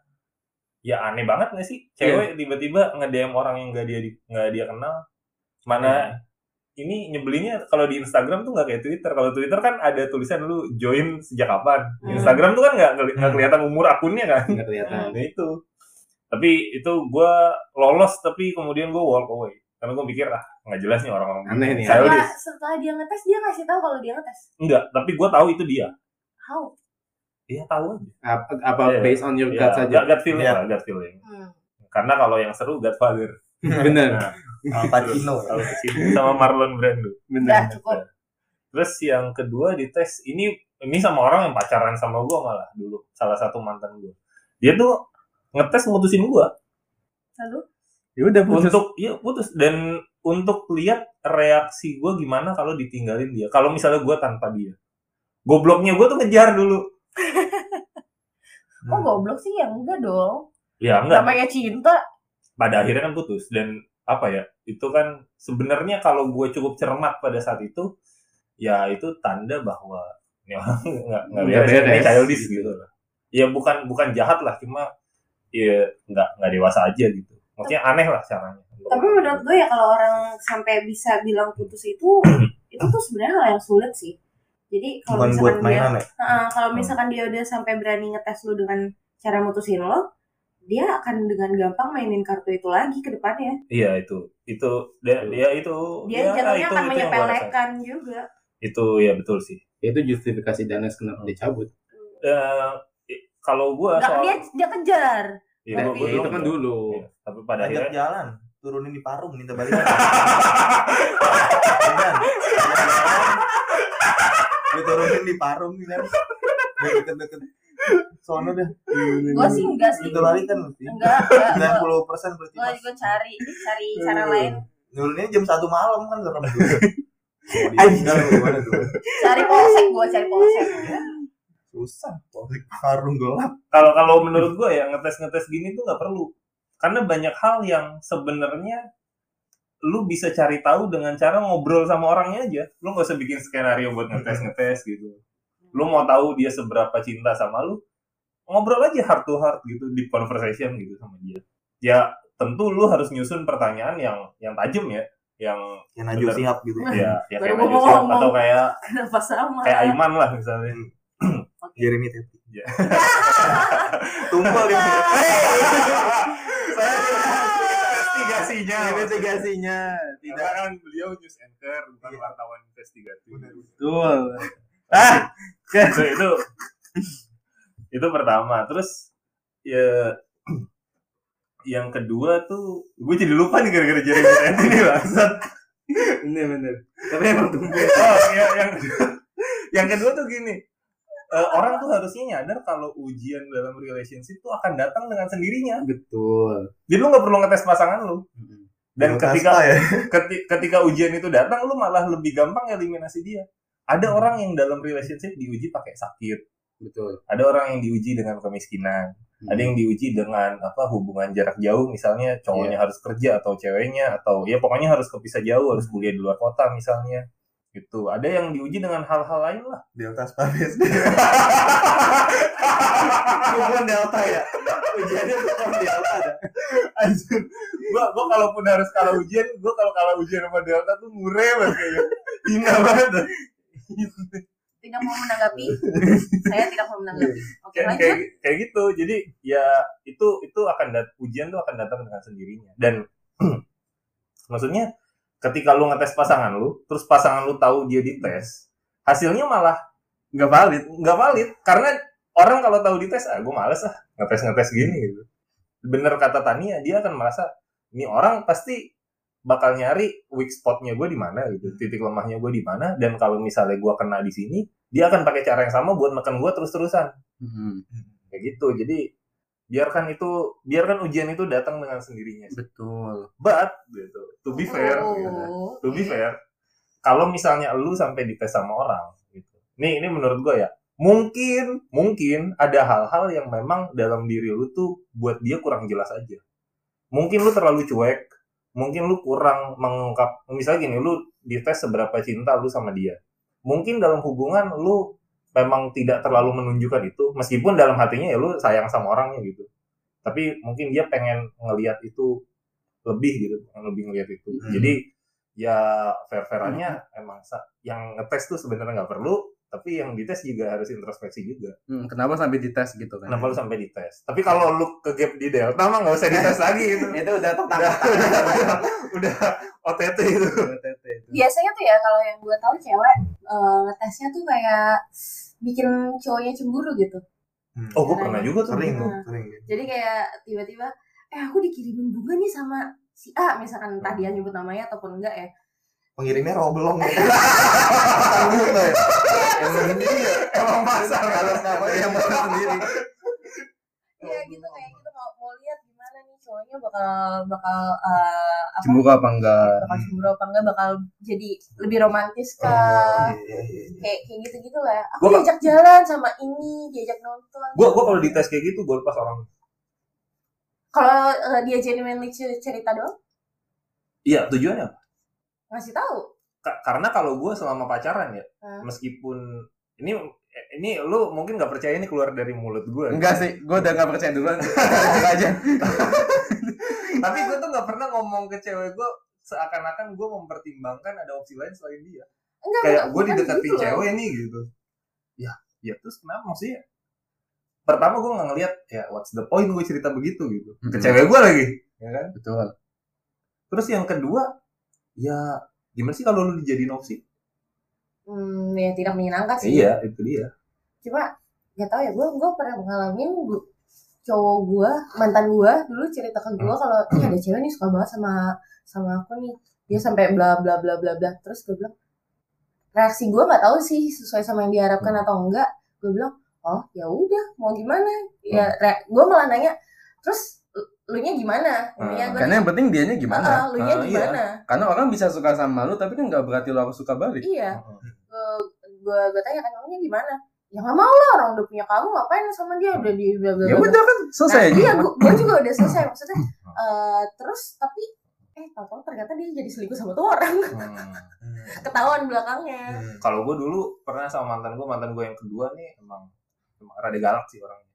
Speaker 1: ya aneh banget nggak
Speaker 4: Iya.
Speaker 1: sih cewek tiba-tiba nge DM orang yang nggak dia nggak dia kenal mana
Speaker 4: Iya.
Speaker 1: ini nyebelinnya kalau di Instagram tuh nggak kayak Twitter kalau Twitter kan ada tulisan lu join sejak kapan
Speaker 5: Hmm.
Speaker 1: Instagram tuh kan nggak nggak
Speaker 4: Hmm.
Speaker 1: kelihatan umur akunnya kan
Speaker 4: Enggak
Speaker 3: ya,
Speaker 4: kelihatan.
Speaker 1: nah itu tapi itu gue lolos tapi kemudian gue walk away karena gue pikir ah nggak jelas nih orang-orang
Speaker 4: Aneh
Speaker 1: Saya
Speaker 4: nih, ya.
Speaker 3: Ya,
Speaker 5: setelah,
Speaker 1: udah-
Speaker 5: setelah dia ngetes dia ngasih tahu kalau dia ngetes
Speaker 1: enggak tapi gue tahu itu dia
Speaker 5: how
Speaker 1: dia tahu aja
Speaker 3: Apa, apa
Speaker 1: Iya.
Speaker 3: based on your
Speaker 1: Ya,
Speaker 3: gut saja.
Speaker 1: gut- gut feeling
Speaker 4: Iya.
Speaker 1: lah, gut feeling.
Speaker 5: hmm.
Speaker 1: Karena kalau yang seru Godfather.
Speaker 3: Bener.
Speaker 4: Al Pacino.
Speaker 1: Kalau ke sini sama Marlon Brando.
Speaker 5: udah
Speaker 3: Bener.
Speaker 5: cukup
Speaker 1: Terus yang kedua di tes ini ini sama orang yang pacaran sama gua malah dulu salah satu mantan gua. Dia tuh ngetes mutusin gua
Speaker 5: lalu
Speaker 3: Ya udah putus.
Speaker 1: untuk iya putus dan untuk lihat reaksi gua gimana kalau ditinggalin dia. Kalau misalnya gua tanpa dia. Gobloknya gua tuh ngejar dulu.
Speaker 5: oh
Speaker 3: Hmm.
Speaker 5: goblok sih ya enggak dong
Speaker 1: Ya enggak.
Speaker 5: namanya cinta
Speaker 1: pada akhirnya kan putus dan apa ya itu kan sebenarnya kalau gue cukup cermat pada saat itu ya itu tanda bahwa ini orang nggak nggak
Speaker 3: Nggak
Speaker 1: beres, ini
Speaker 3: beres.
Speaker 1: childish gitu lah ya bukan bukan jahat lah cuma ya nggak nggak dewasa aja gitu maksudnya aneh lah caranya
Speaker 5: tapi menurut gue ya kalau orang sampai bisa bilang putus itu itu tuh sebenarnya hal yang sulit sih jadi kalau
Speaker 4: Bukan buat
Speaker 5: misalkan dia
Speaker 4: mainan ya.
Speaker 5: Heeh, kalau
Speaker 1: Hmm.
Speaker 5: misalkan dia udah sampai berani ngetes lu dengan cara mutusin lo dia akan dengan gampang mainin kartu itu lagi ke depannya
Speaker 1: iya itu itu dia, dia itu
Speaker 5: dia
Speaker 1: ya,
Speaker 5: jatuhnya akan
Speaker 1: yang gua rasain.
Speaker 5: menyepelekan juga
Speaker 1: itu ya betul sih
Speaker 3: Itu justifikasi Danes kenapa dicabut.
Speaker 1: Eh, kalau gue
Speaker 5: nggak
Speaker 1: soal
Speaker 5: dia dia kejar
Speaker 1: Iya,
Speaker 3: Nah,
Speaker 1: gua- gua
Speaker 3: iya, itu kan
Speaker 1: enggak.
Speaker 3: dulu.
Speaker 1: Iya, tapi pada
Speaker 4: Ajak
Speaker 1: akhirnya
Speaker 4: jalan, turunin di parung minta balik. Bener. Diturunin di parung nih kan. Deket-deket. Sono dah.
Speaker 5: gue sih enggak sih
Speaker 4: Minta balikan mesti.
Speaker 5: enggak enggak
Speaker 4: 90 persen berarti.
Speaker 5: gue juga cari cari
Speaker 1: Hmm.
Speaker 5: cara lain
Speaker 4: Nuruninnya jam 1 malam kan serem tuh.
Speaker 3: Anjing.
Speaker 4: Tinggal gimana tuh?
Speaker 5: cari polsek gue cari polsek
Speaker 4: Susah. Balik parung gelap.
Speaker 1: kalau kalau menurut gue ya ngetes ngetes gini tuh nggak perlu karena banyak hal yang sebenarnya lu bisa cari tahu dengan cara ngobrol sama orangnya aja lu nggak usah bikin skenario buat ngetes ngetes gitu lu mau tahu dia seberapa cinta sama lu ngobrol aja heart to heart gitu di conversation gitu sama dia ya tentu lu harus nyusun pertanyaan yang yang tajam ya yang
Speaker 4: Ya Najwa
Speaker 1: Bener.
Speaker 4: Sihab gitu.
Speaker 1: ya, ya kayak
Speaker 5: Baru
Speaker 1: Najwa
Speaker 5: mau
Speaker 1: Shihab
Speaker 5: ngomong. Ah.
Speaker 1: atau kayak
Speaker 5: kenapa sama
Speaker 1: kayak Aiman lah misalnya
Speaker 4: Jeremy Tepi.
Speaker 1: Iya.
Speaker 4: Tumpul ya.
Speaker 1: investigasinya
Speaker 3: Investigasinya
Speaker 1: tidak kan beliau news anchor
Speaker 3: Iya.
Speaker 1: bukan wartawan investigatif
Speaker 3: betul. Ah,
Speaker 1: itu itu itu pertama terus ya yang kedua tuh gue jadi lupa nih gara-gara Jeremy Tent ini bangsat
Speaker 3: bener bener. Tapi emang tumpul.
Speaker 1: oh, ya, yang yang kedua tuh gini eh, orang tuh harusnya nyadar kalau ujian dalam relationship tuh akan datang dengan sendirinya
Speaker 3: Betul.
Speaker 1: jadi lu nggak perlu ngetes pasangan lu dan
Speaker 4: Lukas
Speaker 1: ketika
Speaker 4: Pak ya.
Speaker 1: keti- ketika ujian itu datang lu malah lebih gampang eliminasi dia ada orang yang dalam relationship diuji pakai sakit
Speaker 3: Betul.
Speaker 1: ada orang yang diuji dengan kemiskinan ada yang diuji dengan apa hubungan jarak jauh misalnya Hmm. cowoknya harus kerja atau ceweknya atau ya pokoknya harus kepisah jauh harus kuliah di luar kota misalnya gitu ada yang diuji dengan hal-hal lain lah
Speaker 4: Delta Spa BSD. Bukan Delta ya. Ujiannya bukan Delta ada.
Speaker 1: Anjir. Gua gua kalaupun harus kalah ujian, gua kalau kalah ujian sama Delta tuh mure banget kayaknya. Hina banget. dah.
Speaker 2: Tidak mau menanggapi. Saya tidak mau menanggapi. Oke,
Speaker 1: Kayak,
Speaker 2: lanjut.
Speaker 1: kayak kayak gitu. Jadi ya itu itu akan dat- ujian tuh akan datang dengan sendirinya. Dan maksudnya ketika lu ngetes pasangan lu, terus pasangan lu tahu dia dites, hasilnya malah nggak valid, nggak valid karena orang kalau tahu dites, ah gue males ah ngetes ngetes gini gitu. Bener kata Tania, dia akan merasa ini orang pasti bakal nyari weak spotnya gue di mana gitu, titik lemahnya gue di mana, dan kalau misalnya gue kena di sini, dia akan pakai cara yang sama buat neken gue terus-terusan
Speaker 3: Hmm.
Speaker 1: kayak gitu jadi biarkan itu biarkan ujian itu datang dengan sendirinya
Speaker 3: Betul.
Speaker 1: but gitu to be fair gitu.
Speaker 2: Oh.
Speaker 1: to be fair kalau misalnya lu sampai dites sama orang gitu nih ini menurut gue ya mungkin mungkin ada hal-hal yang memang dalam diri lu tuh buat dia kurang jelas aja mungkin lu terlalu cuek mungkin lu kurang mengungkap misalnya gini lu dites seberapa cinta lu sama dia mungkin dalam hubungan lu memang tidak terlalu menunjukkan itu meskipun dalam hatinya ya lu sayang sama orangnya gitu tapi mungkin dia pengen ngelihat itu lebih gitu pengen lebih ngelihat itu
Speaker 4: Hmm.
Speaker 1: jadi ya fair fairannya emang sa- yang ngetes tuh sebenarnya nggak perlu tapi yang dites juga harus introspeksi juga
Speaker 3: Hmm, kenapa sampai dites gitu kan?
Speaker 1: kenapa lu sampai dites tapi kalau lu ke gap di delta mah nggak usah dites lagi itu
Speaker 4: Itu udah tetap.
Speaker 1: udah, udah, udah OTT itu gitu.
Speaker 2: biasanya tuh ya kalau yang gue tahu cewek eh, ngetesnya tuh kayak bikin cowoknya cemburu gitu
Speaker 1: oh gue pernah juga tuh
Speaker 4: sering tuh,
Speaker 2: Nah.
Speaker 4: sering.
Speaker 2: jadi kayak tiba-tiba eh aku dikirimin bunga nih sama si A misalkan entah dia nyebut namanya ataupun enggak ya
Speaker 4: Pengirimnya robelong gitu. Tanggung lah ya. Emang ini ya.
Speaker 1: emang pasar
Speaker 4: Kalau namanya yang masuk sendiri.
Speaker 2: Iya. ya
Speaker 1: Hmm.
Speaker 2: gitu kayak gitu mau mau lihat gimana nih cowoknya bakal bakal eh, apa
Speaker 3: Cemburu apa enggak?
Speaker 2: bakal cemburu apa enggak bakal jadi lebih romantis kah
Speaker 4: Oh, iya, iya, iya.
Speaker 2: kayak kayak gitu gitu lah aku
Speaker 1: Gua-
Speaker 2: diajak jalan sama ini diajak nonton
Speaker 1: gue gue kalau dites kayak gitu gue lepas orang
Speaker 2: kalau eh, dia genuinely cer- cerita doang
Speaker 1: iya tujuannya apa?
Speaker 2: ngasih tahu
Speaker 1: Ka- karena kalau gue selama pacaran ya
Speaker 2: Hmm.
Speaker 1: meskipun ini ini lu mungkin nggak percaya ini keluar dari mulut gue
Speaker 3: Enggak sih, gue udah gak percaya duluan. Lanjut aja.
Speaker 1: tapi gue tuh nggak pernah ngomong ke cewek gue seakan-akan gue mempertimbangkan ada opsi lain selain dia
Speaker 2: enggak
Speaker 1: kayak
Speaker 2: enggak,
Speaker 1: gue
Speaker 2: bukan
Speaker 1: dideketin
Speaker 2: gitu loh.
Speaker 1: cewek nih Iya, kan gitu ya ya terus kenapa maksudnya pertama gue nggak ngeliat ya what's the point gue cerita begitu gitu ke
Speaker 3: Mhm.
Speaker 1: cewek gue lagi ya kan
Speaker 3: Betul.
Speaker 1: terus yang kedua ya gimana sih kalau lu dijadiin opsi
Speaker 2: hmm, ya tidak menyenangkan sih
Speaker 1: iya itu dia
Speaker 2: cuma nggak tahu ya gue gue pernah ngalamin gua- cowok gue mantan gue dulu cerita ke gue kalau ini ada cewek nih suka banget sama sama aku nih dia sampai bla bla bla bla bla terus gue bilang reaksi gue nggak tahu sih sesuai sama yang diharapkan atau enggak gue bilang oh ya udah mau gimana ya gue malah nanya terus lu nya gimana Intinya
Speaker 1: Hmm,
Speaker 2: gua
Speaker 3: Karena yang penting dianya
Speaker 2: "Ah, ah,
Speaker 3: gimana?
Speaker 2: lu nya
Speaker 1: Ah, iya.
Speaker 2: gimana
Speaker 3: Karena orang bisa suka sama lu tapi kan nggak berarti lu harus suka balik.
Speaker 2: iya
Speaker 1: Mhm.
Speaker 2: gue gue tanya kan kamunya gimana ya nggak mau lah orang udah punya kamu ngapain sama dia udah di bla bla
Speaker 3: Ya
Speaker 2: bla
Speaker 3: udah kan
Speaker 2: Nah,
Speaker 3: selesai. Hmm.
Speaker 2: iya, gue juga udah selesai maksudnya. eh, terus tapi eh tahu ternyata dia jadi selingkuh sama tuh orang
Speaker 1: Hmm.
Speaker 2: ketahuan belakangnya.
Speaker 4: Hmm.
Speaker 1: kalau gue dulu pernah sama mantan gue mantan gue yang kedua nih emang emang rada galak sih orangnya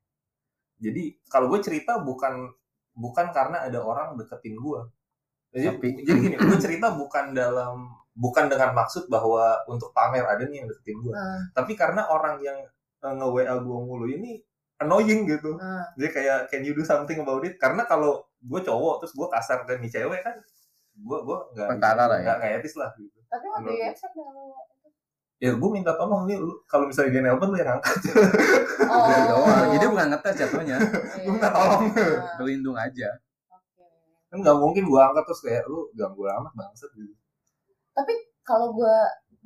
Speaker 1: jadi kalau gue cerita bukan bukan karena ada orang deketin gue jadi,
Speaker 3: Tapi-
Speaker 1: jadi gini gue cerita bukan dalam bukan dengan maksud bahwa untuk pamer ada nih yang deketin gue
Speaker 2: Hmm.
Speaker 1: tapi karena orang yang eh, nge WA gue mulu ini annoying gitu
Speaker 2: Nah,
Speaker 1: jadi kayak can you do something about it karena kalau gue cowok terus gue kasar ke nih cewek kan gue gue nggak
Speaker 3: Perkara lah ya.
Speaker 1: nggak nggak etis lah gitu
Speaker 2: tapi waktu
Speaker 1: Menurut
Speaker 2: itu
Speaker 1: lu?
Speaker 2: accept dengan lu.
Speaker 1: ya gue minta tolong nih lu kalau misalnya dia nelpon lu yang angkat
Speaker 2: Oh,
Speaker 3: Udah doang. Jadi bukan ngetes jatuhnya,
Speaker 2: iya.
Speaker 1: minta tolong.
Speaker 2: Nah,
Speaker 3: berlindung aja.
Speaker 2: oke.
Speaker 1: kan nggak mungkin gue angkat terus kayak lu ganggu amat bangsat gitu
Speaker 2: Kalau gue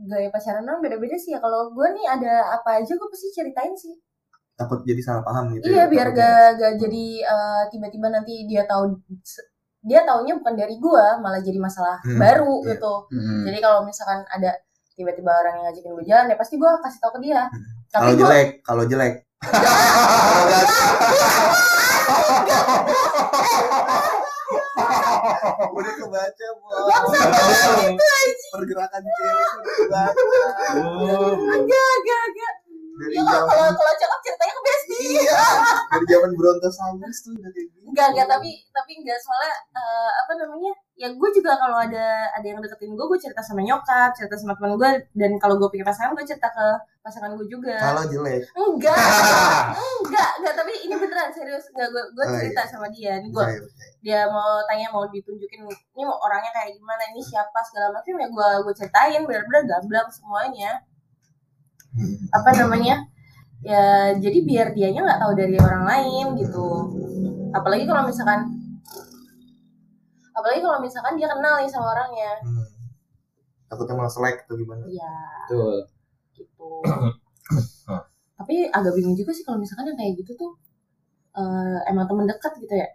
Speaker 2: gaya pacaran orang beda-beda sih ya. Kalau gue nih ada apa aja gue pasti ceritain sih.
Speaker 4: Takut jadi salah paham gitu.
Speaker 2: Iya,
Speaker 4: ya,
Speaker 2: biar
Speaker 4: takutnya.
Speaker 2: gak, gak jadi eh, tiba-tiba nanti dia tahu dia taunya bukan dari gue, malah jadi masalah
Speaker 4: Hmm,
Speaker 2: baru
Speaker 4: iya.
Speaker 2: gitu.
Speaker 3: Hmm.
Speaker 2: Jadi kalau misalkan ada tiba-tiba orang yang ngajakin gue jalan ya pasti gue kasih tau ke dia.
Speaker 4: Hmm.
Speaker 2: Tapi
Speaker 4: Kalau
Speaker 2: gue
Speaker 4: jelek, kalau jelek. Kalau nggak- Udah kebaca, Bos.
Speaker 2: Bangsat, bangsat, itu aja.
Speaker 4: pergerakan cewek itu banyak
Speaker 6: Oh,
Speaker 2: agak agak
Speaker 4: dari
Speaker 2: ya kalau
Speaker 4: zaman
Speaker 2: kalau cakep ceritanya ke Besti
Speaker 4: iya dari zaman brontosaurus tuh udah kayak gitu
Speaker 2: enggak enggak tapi tapi enggak soalnya eh, apa namanya ya gue juga kalau ada ada yang deketin gue gue cerita sama nyokap cerita sama teman gue dan kalau gue punya pasangan gue cerita ke pasangan gue juga
Speaker 4: kalau jelek
Speaker 2: enggak enggak enggak tapi ini beneran serius enggak gue gue
Speaker 4: Oh, iya.
Speaker 2: cerita sama dia ini gue
Speaker 4: percaya percaya
Speaker 2: dia mau tanya mau ditunjukin ini mau orangnya kayak gimana ini siapa segala macam ya gue gue ceritain benar-benar gamblang semuanya
Speaker 4: Hmm.
Speaker 2: apa namanya ya jadi biar dianya nggak tahu dari orang lain gitu apalagi kalau misalkan apalagi kalau misalkan dia kenal nih sama orangnya
Speaker 4: Hmm. takutnya malah selek atau gimana
Speaker 2: ya
Speaker 3: Betul.
Speaker 2: gitu
Speaker 1: Ah.
Speaker 2: tapi agak bingung juga sih kalau misalkan yang kayak gitu tuh eh, emang temen dekat gitu ya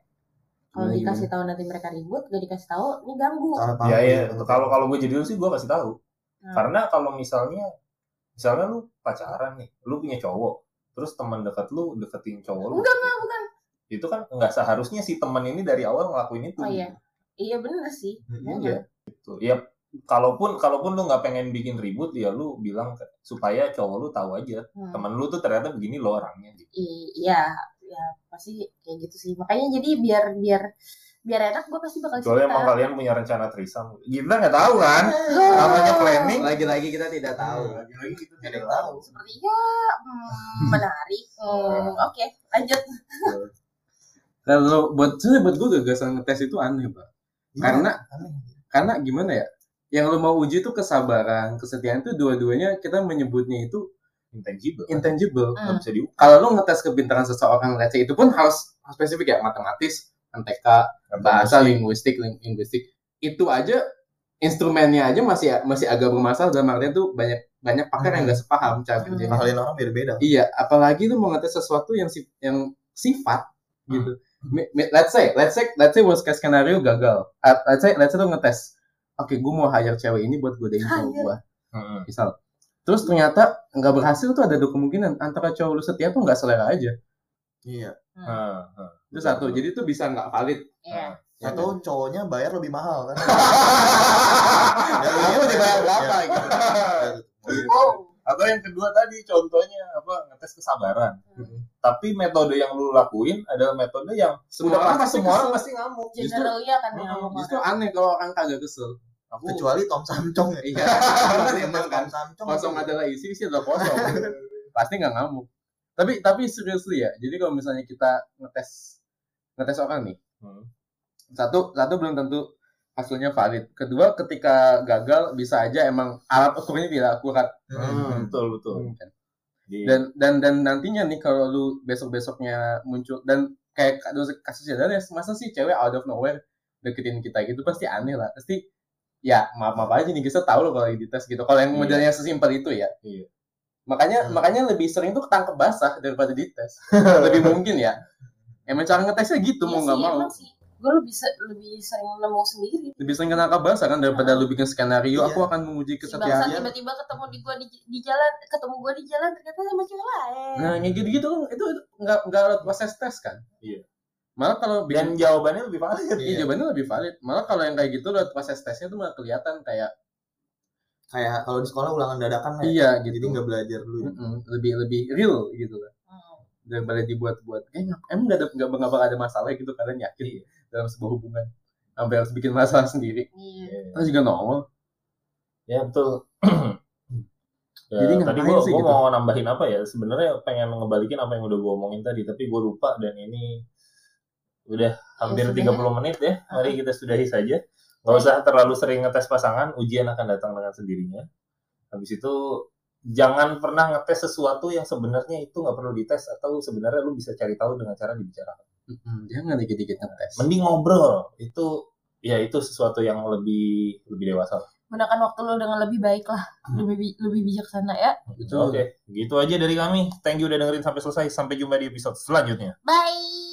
Speaker 1: Iya,
Speaker 2: kalau
Speaker 3: Gimana,
Speaker 2: dikasih tahu nanti mereka ribut gak dikasih tahu ini ganggu
Speaker 4: salah paham
Speaker 1: ya ya
Speaker 4: gitu.
Speaker 1: kalau kalau gue jadi lu sih gue kasih tahu
Speaker 2: Hmm.
Speaker 1: karena kalau misalnya misalnya lu pacaran nih lu punya cowok terus teman dekat lu deketin cowok lu
Speaker 2: enggak enggak bukan
Speaker 1: itu kan nggak seharusnya si teman ini dari awal ngelakuin itu
Speaker 2: Oh iya. Iya bener sih.
Speaker 1: Hmm. Iya. Gitu. Ya kalaupun kalaupun lu nggak pengen bikin ribut ya lu bilang ke- supaya cowok lu tahu aja
Speaker 2: Hmm.
Speaker 1: teman lu tuh ternyata begini lo orangnya gitu.
Speaker 2: I- iya, ya pasti kayak gitu sih. Makanya jadi biar biar biar enak gue pasti bakal
Speaker 1: Kecuali emang kalian punya rencana trisam. Kita nggak tahu kan? Namanya planning.
Speaker 4: lagi-lagi kita tidak
Speaker 3: Iya.
Speaker 4: tahu
Speaker 3: Nah,
Speaker 1: Lagi-lagi kita
Speaker 4: tidak tahu
Speaker 2: Seperti ya hmm, menarik. Hmm, Oke, lanjut.
Speaker 3: Kalau buat sebenarnya buat gue gagasan ngetes itu aneh, Pak. Karena
Speaker 4: Iya, aneh.
Speaker 3: karena gimana ya? Yang lo mau uji itu kesabaran, kesetiaan itu dua-duanya kita menyebutnya itu
Speaker 1: Intangible.
Speaker 3: Hmm.
Speaker 1: kan?
Speaker 3: intangible.
Speaker 1: Nggak bisa diukur.
Speaker 3: Kalau lo ngetes kebintangan seseorang, let's say, itu pun harus harus spesifik ya, matematis, MTK, bahasa, linguistik, ling- linguistik. Itu aja instrumennya aja masih masih agak bermasalah dalam artian tuh banyak banyak pakar yang nggak sepaham cara
Speaker 2: Hmm.
Speaker 3: kerjanya.
Speaker 4: Mahalin orang beda-beda
Speaker 3: Iya, apalagi lu mau ngetes sesuatu yang sif- yang sifat gitu. Mi- mi- Let's say, let's say, let's say worst case scenario gagal. Uh, let's say, let's say lu ngetes. Oke, gue mau hire cewek ini buat godain cowok
Speaker 2: Hire.
Speaker 3: gue,
Speaker 1: Heeh.
Speaker 3: misal. Terus ternyata nggak berhasil tuh ada dua kemungkinan antara cowok lu setia tuh nggak selera aja.
Speaker 4: iya
Speaker 1: Heeh. Heeh.
Speaker 3: Itu satu. Jadi tuh bisa nggak valid.
Speaker 1: Ah,
Speaker 2: Iya.
Speaker 1: ya
Speaker 3: Ya,
Speaker 4: atau cowoknya bayar lebih mahal kan Ya,
Speaker 3: Kamu
Speaker 4: iya,
Speaker 3: dibayar
Speaker 4: iya.
Speaker 3: berapa
Speaker 4: Iya.
Speaker 3: gitu?
Speaker 1: Atau yang kedua tadi contohnya apa ngetes kesabaran.
Speaker 3: Hmm.
Speaker 1: Tapi metode yang lu lakuin adalah metode yang
Speaker 3: Semua orang pasti
Speaker 1: semua orang
Speaker 3: kesel.
Speaker 1: pasti ngamuk.
Speaker 2: Generalnya kan yang
Speaker 1: Justru-
Speaker 2: ngomong.
Speaker 3: Justru aneh kalau orang kagak kesel.
Speaker 1: Aku
Speaker 4: kecuali Tom Samcong ya
Speaker 3: Iya.
Speaker 4: Kecuali
Speaker 3: Emang kan.
Speaker 4: Tom Samcong
Speaker 3: kosong adalah isi isi adalah kosong pasti nggak ngamuk tapi tapi seriously ya jadi kalau misalnya kita ngetes ngetes orang nih
Speaker 1: Hmm.
Speaker 3: satu satu belum tentu hasilnya valid kedua ketika gagal bisa aja emang alat ukurnya tidak akurat
Speaker 4: Hmm.
Speaker 1: betul betul.
Speaker 3: kan?
Speaker 1: Di-
Speaker 3: dan dan dan nantinya nih kalau lu besok besoknya muncul dan kayak kasus- kasusnya dan masa sih cewek out of nowhere deketin kita gitu pasti aneh lah pasti ya maaf maaf aja nih kita tahu lo kalau lagi dites gitu kalau yang
Speaker 1: Iya.
Speaker 3: modelnya sesimpel itu ya
Speaker 1: Iya.
Speaker 3: makanya
Speaker 4: Hmm.
Speaker 3: makanya lebih sering tuh ketangkep basah daripada dites lebih mungkin ya emang cara ngetesnya gitu mau
Speaker 2: Iya
Speaker 3: nggak
Speaker 2: sih,
Speaker 3: mau
Speaker 2: emang sih. Gue lebih se- lebih sering nemu sendiri.
Speaker 3: lebih sering ketangkep basah kan daripada lu bikin skenario
Speaker 4: Iya.
Speaker 3: aku akan menguji
Speaker 2: Si
Speaker 3: kesetiaan
Speaker 2: bangsa
Speaker 4: Kesetiaan.
Speaker 2: tiba-tiba ketemu di gua di, di jalan, ketemu gua di jalan ternyata sama cewek lain.
Speaker 3: nah yang gitu gitu itu itu nggak nggak lewat proses tes kan
Speaker 1: Iya.
Speaker 3: malah kalau bikin
Speaker 1: dan jawabannya lebih valid.
Speaker 3: Iya,
Speaker 4: Iya.
Speaker 3: jawabannya lebih valid. Malah kalau yang kayak gitu lewat proses tesnya tuh malah kelihatan kayak
Speaker 4: kayak kalau di sekolah ulangan dadakan ya
Speaker 3: iya gitu.
Speaker 4: jadi nggak belajar dulu
Speaker 3: Mm-mm, lebih lebih real gitu kan.
Speaker 2: Hmm.
Speaker 3: Daripada dibuat-buat. Eh, ngap- emang gak ada nggak nggak bakal ada masalah gitu kalian yakin dalam sebuah hubungan. Sampai harus bikin masalah sendiri.
Speaker 2: Iya.
Speaker 3: Terus juga nongol.
Speaker 1: Ya betul. Ya,
Speaker 3: Jadi
Speaker 1: tadi
Speaker 3: ngapain
Speaker 1: gua,
Speaker 3: sih
Speaker 1: gua
Speaker 3: gitu?
Speaker 1: mau nambahin apa ya? Sebenarnya pengen ngebalikin apa yang udah gua omongin tadi, tapi gua lupa dan ini udah hampir
Speaker 2: sudah ya.
Speaker 1: 30 menit ya. Mari kita sudahi saja. Gak usah terlalu sering ngetes pasangan, ujian akan datang dengan sendirinya. Habis itu jangan pernah ngetes sesuatu yang sebenarnya itu nggak perlu dites atau sebenarnya lu bisa cari tahu dengan cara dibicarakan.
Speaker 3: Mm-mm, jangan dikit-dikit ngetes.
Speaker 1: Mending ngobrol. Itu ya itu sesuatu yang lebih lebih dewasa.
Speaker 2: Gunakan waktu lo dengan lebih baik lah,
Speaker 3: Hmm.
Speaker 2: lebih bi- lebih bijaksana ya.
Speaker 3: Betul.
Speaker 1: Oke, gitu aja dari kami. Thank you udah dengerin sampai selesai. Sampai jumpa di episode selanjutnya.
Speaker 2: Bye.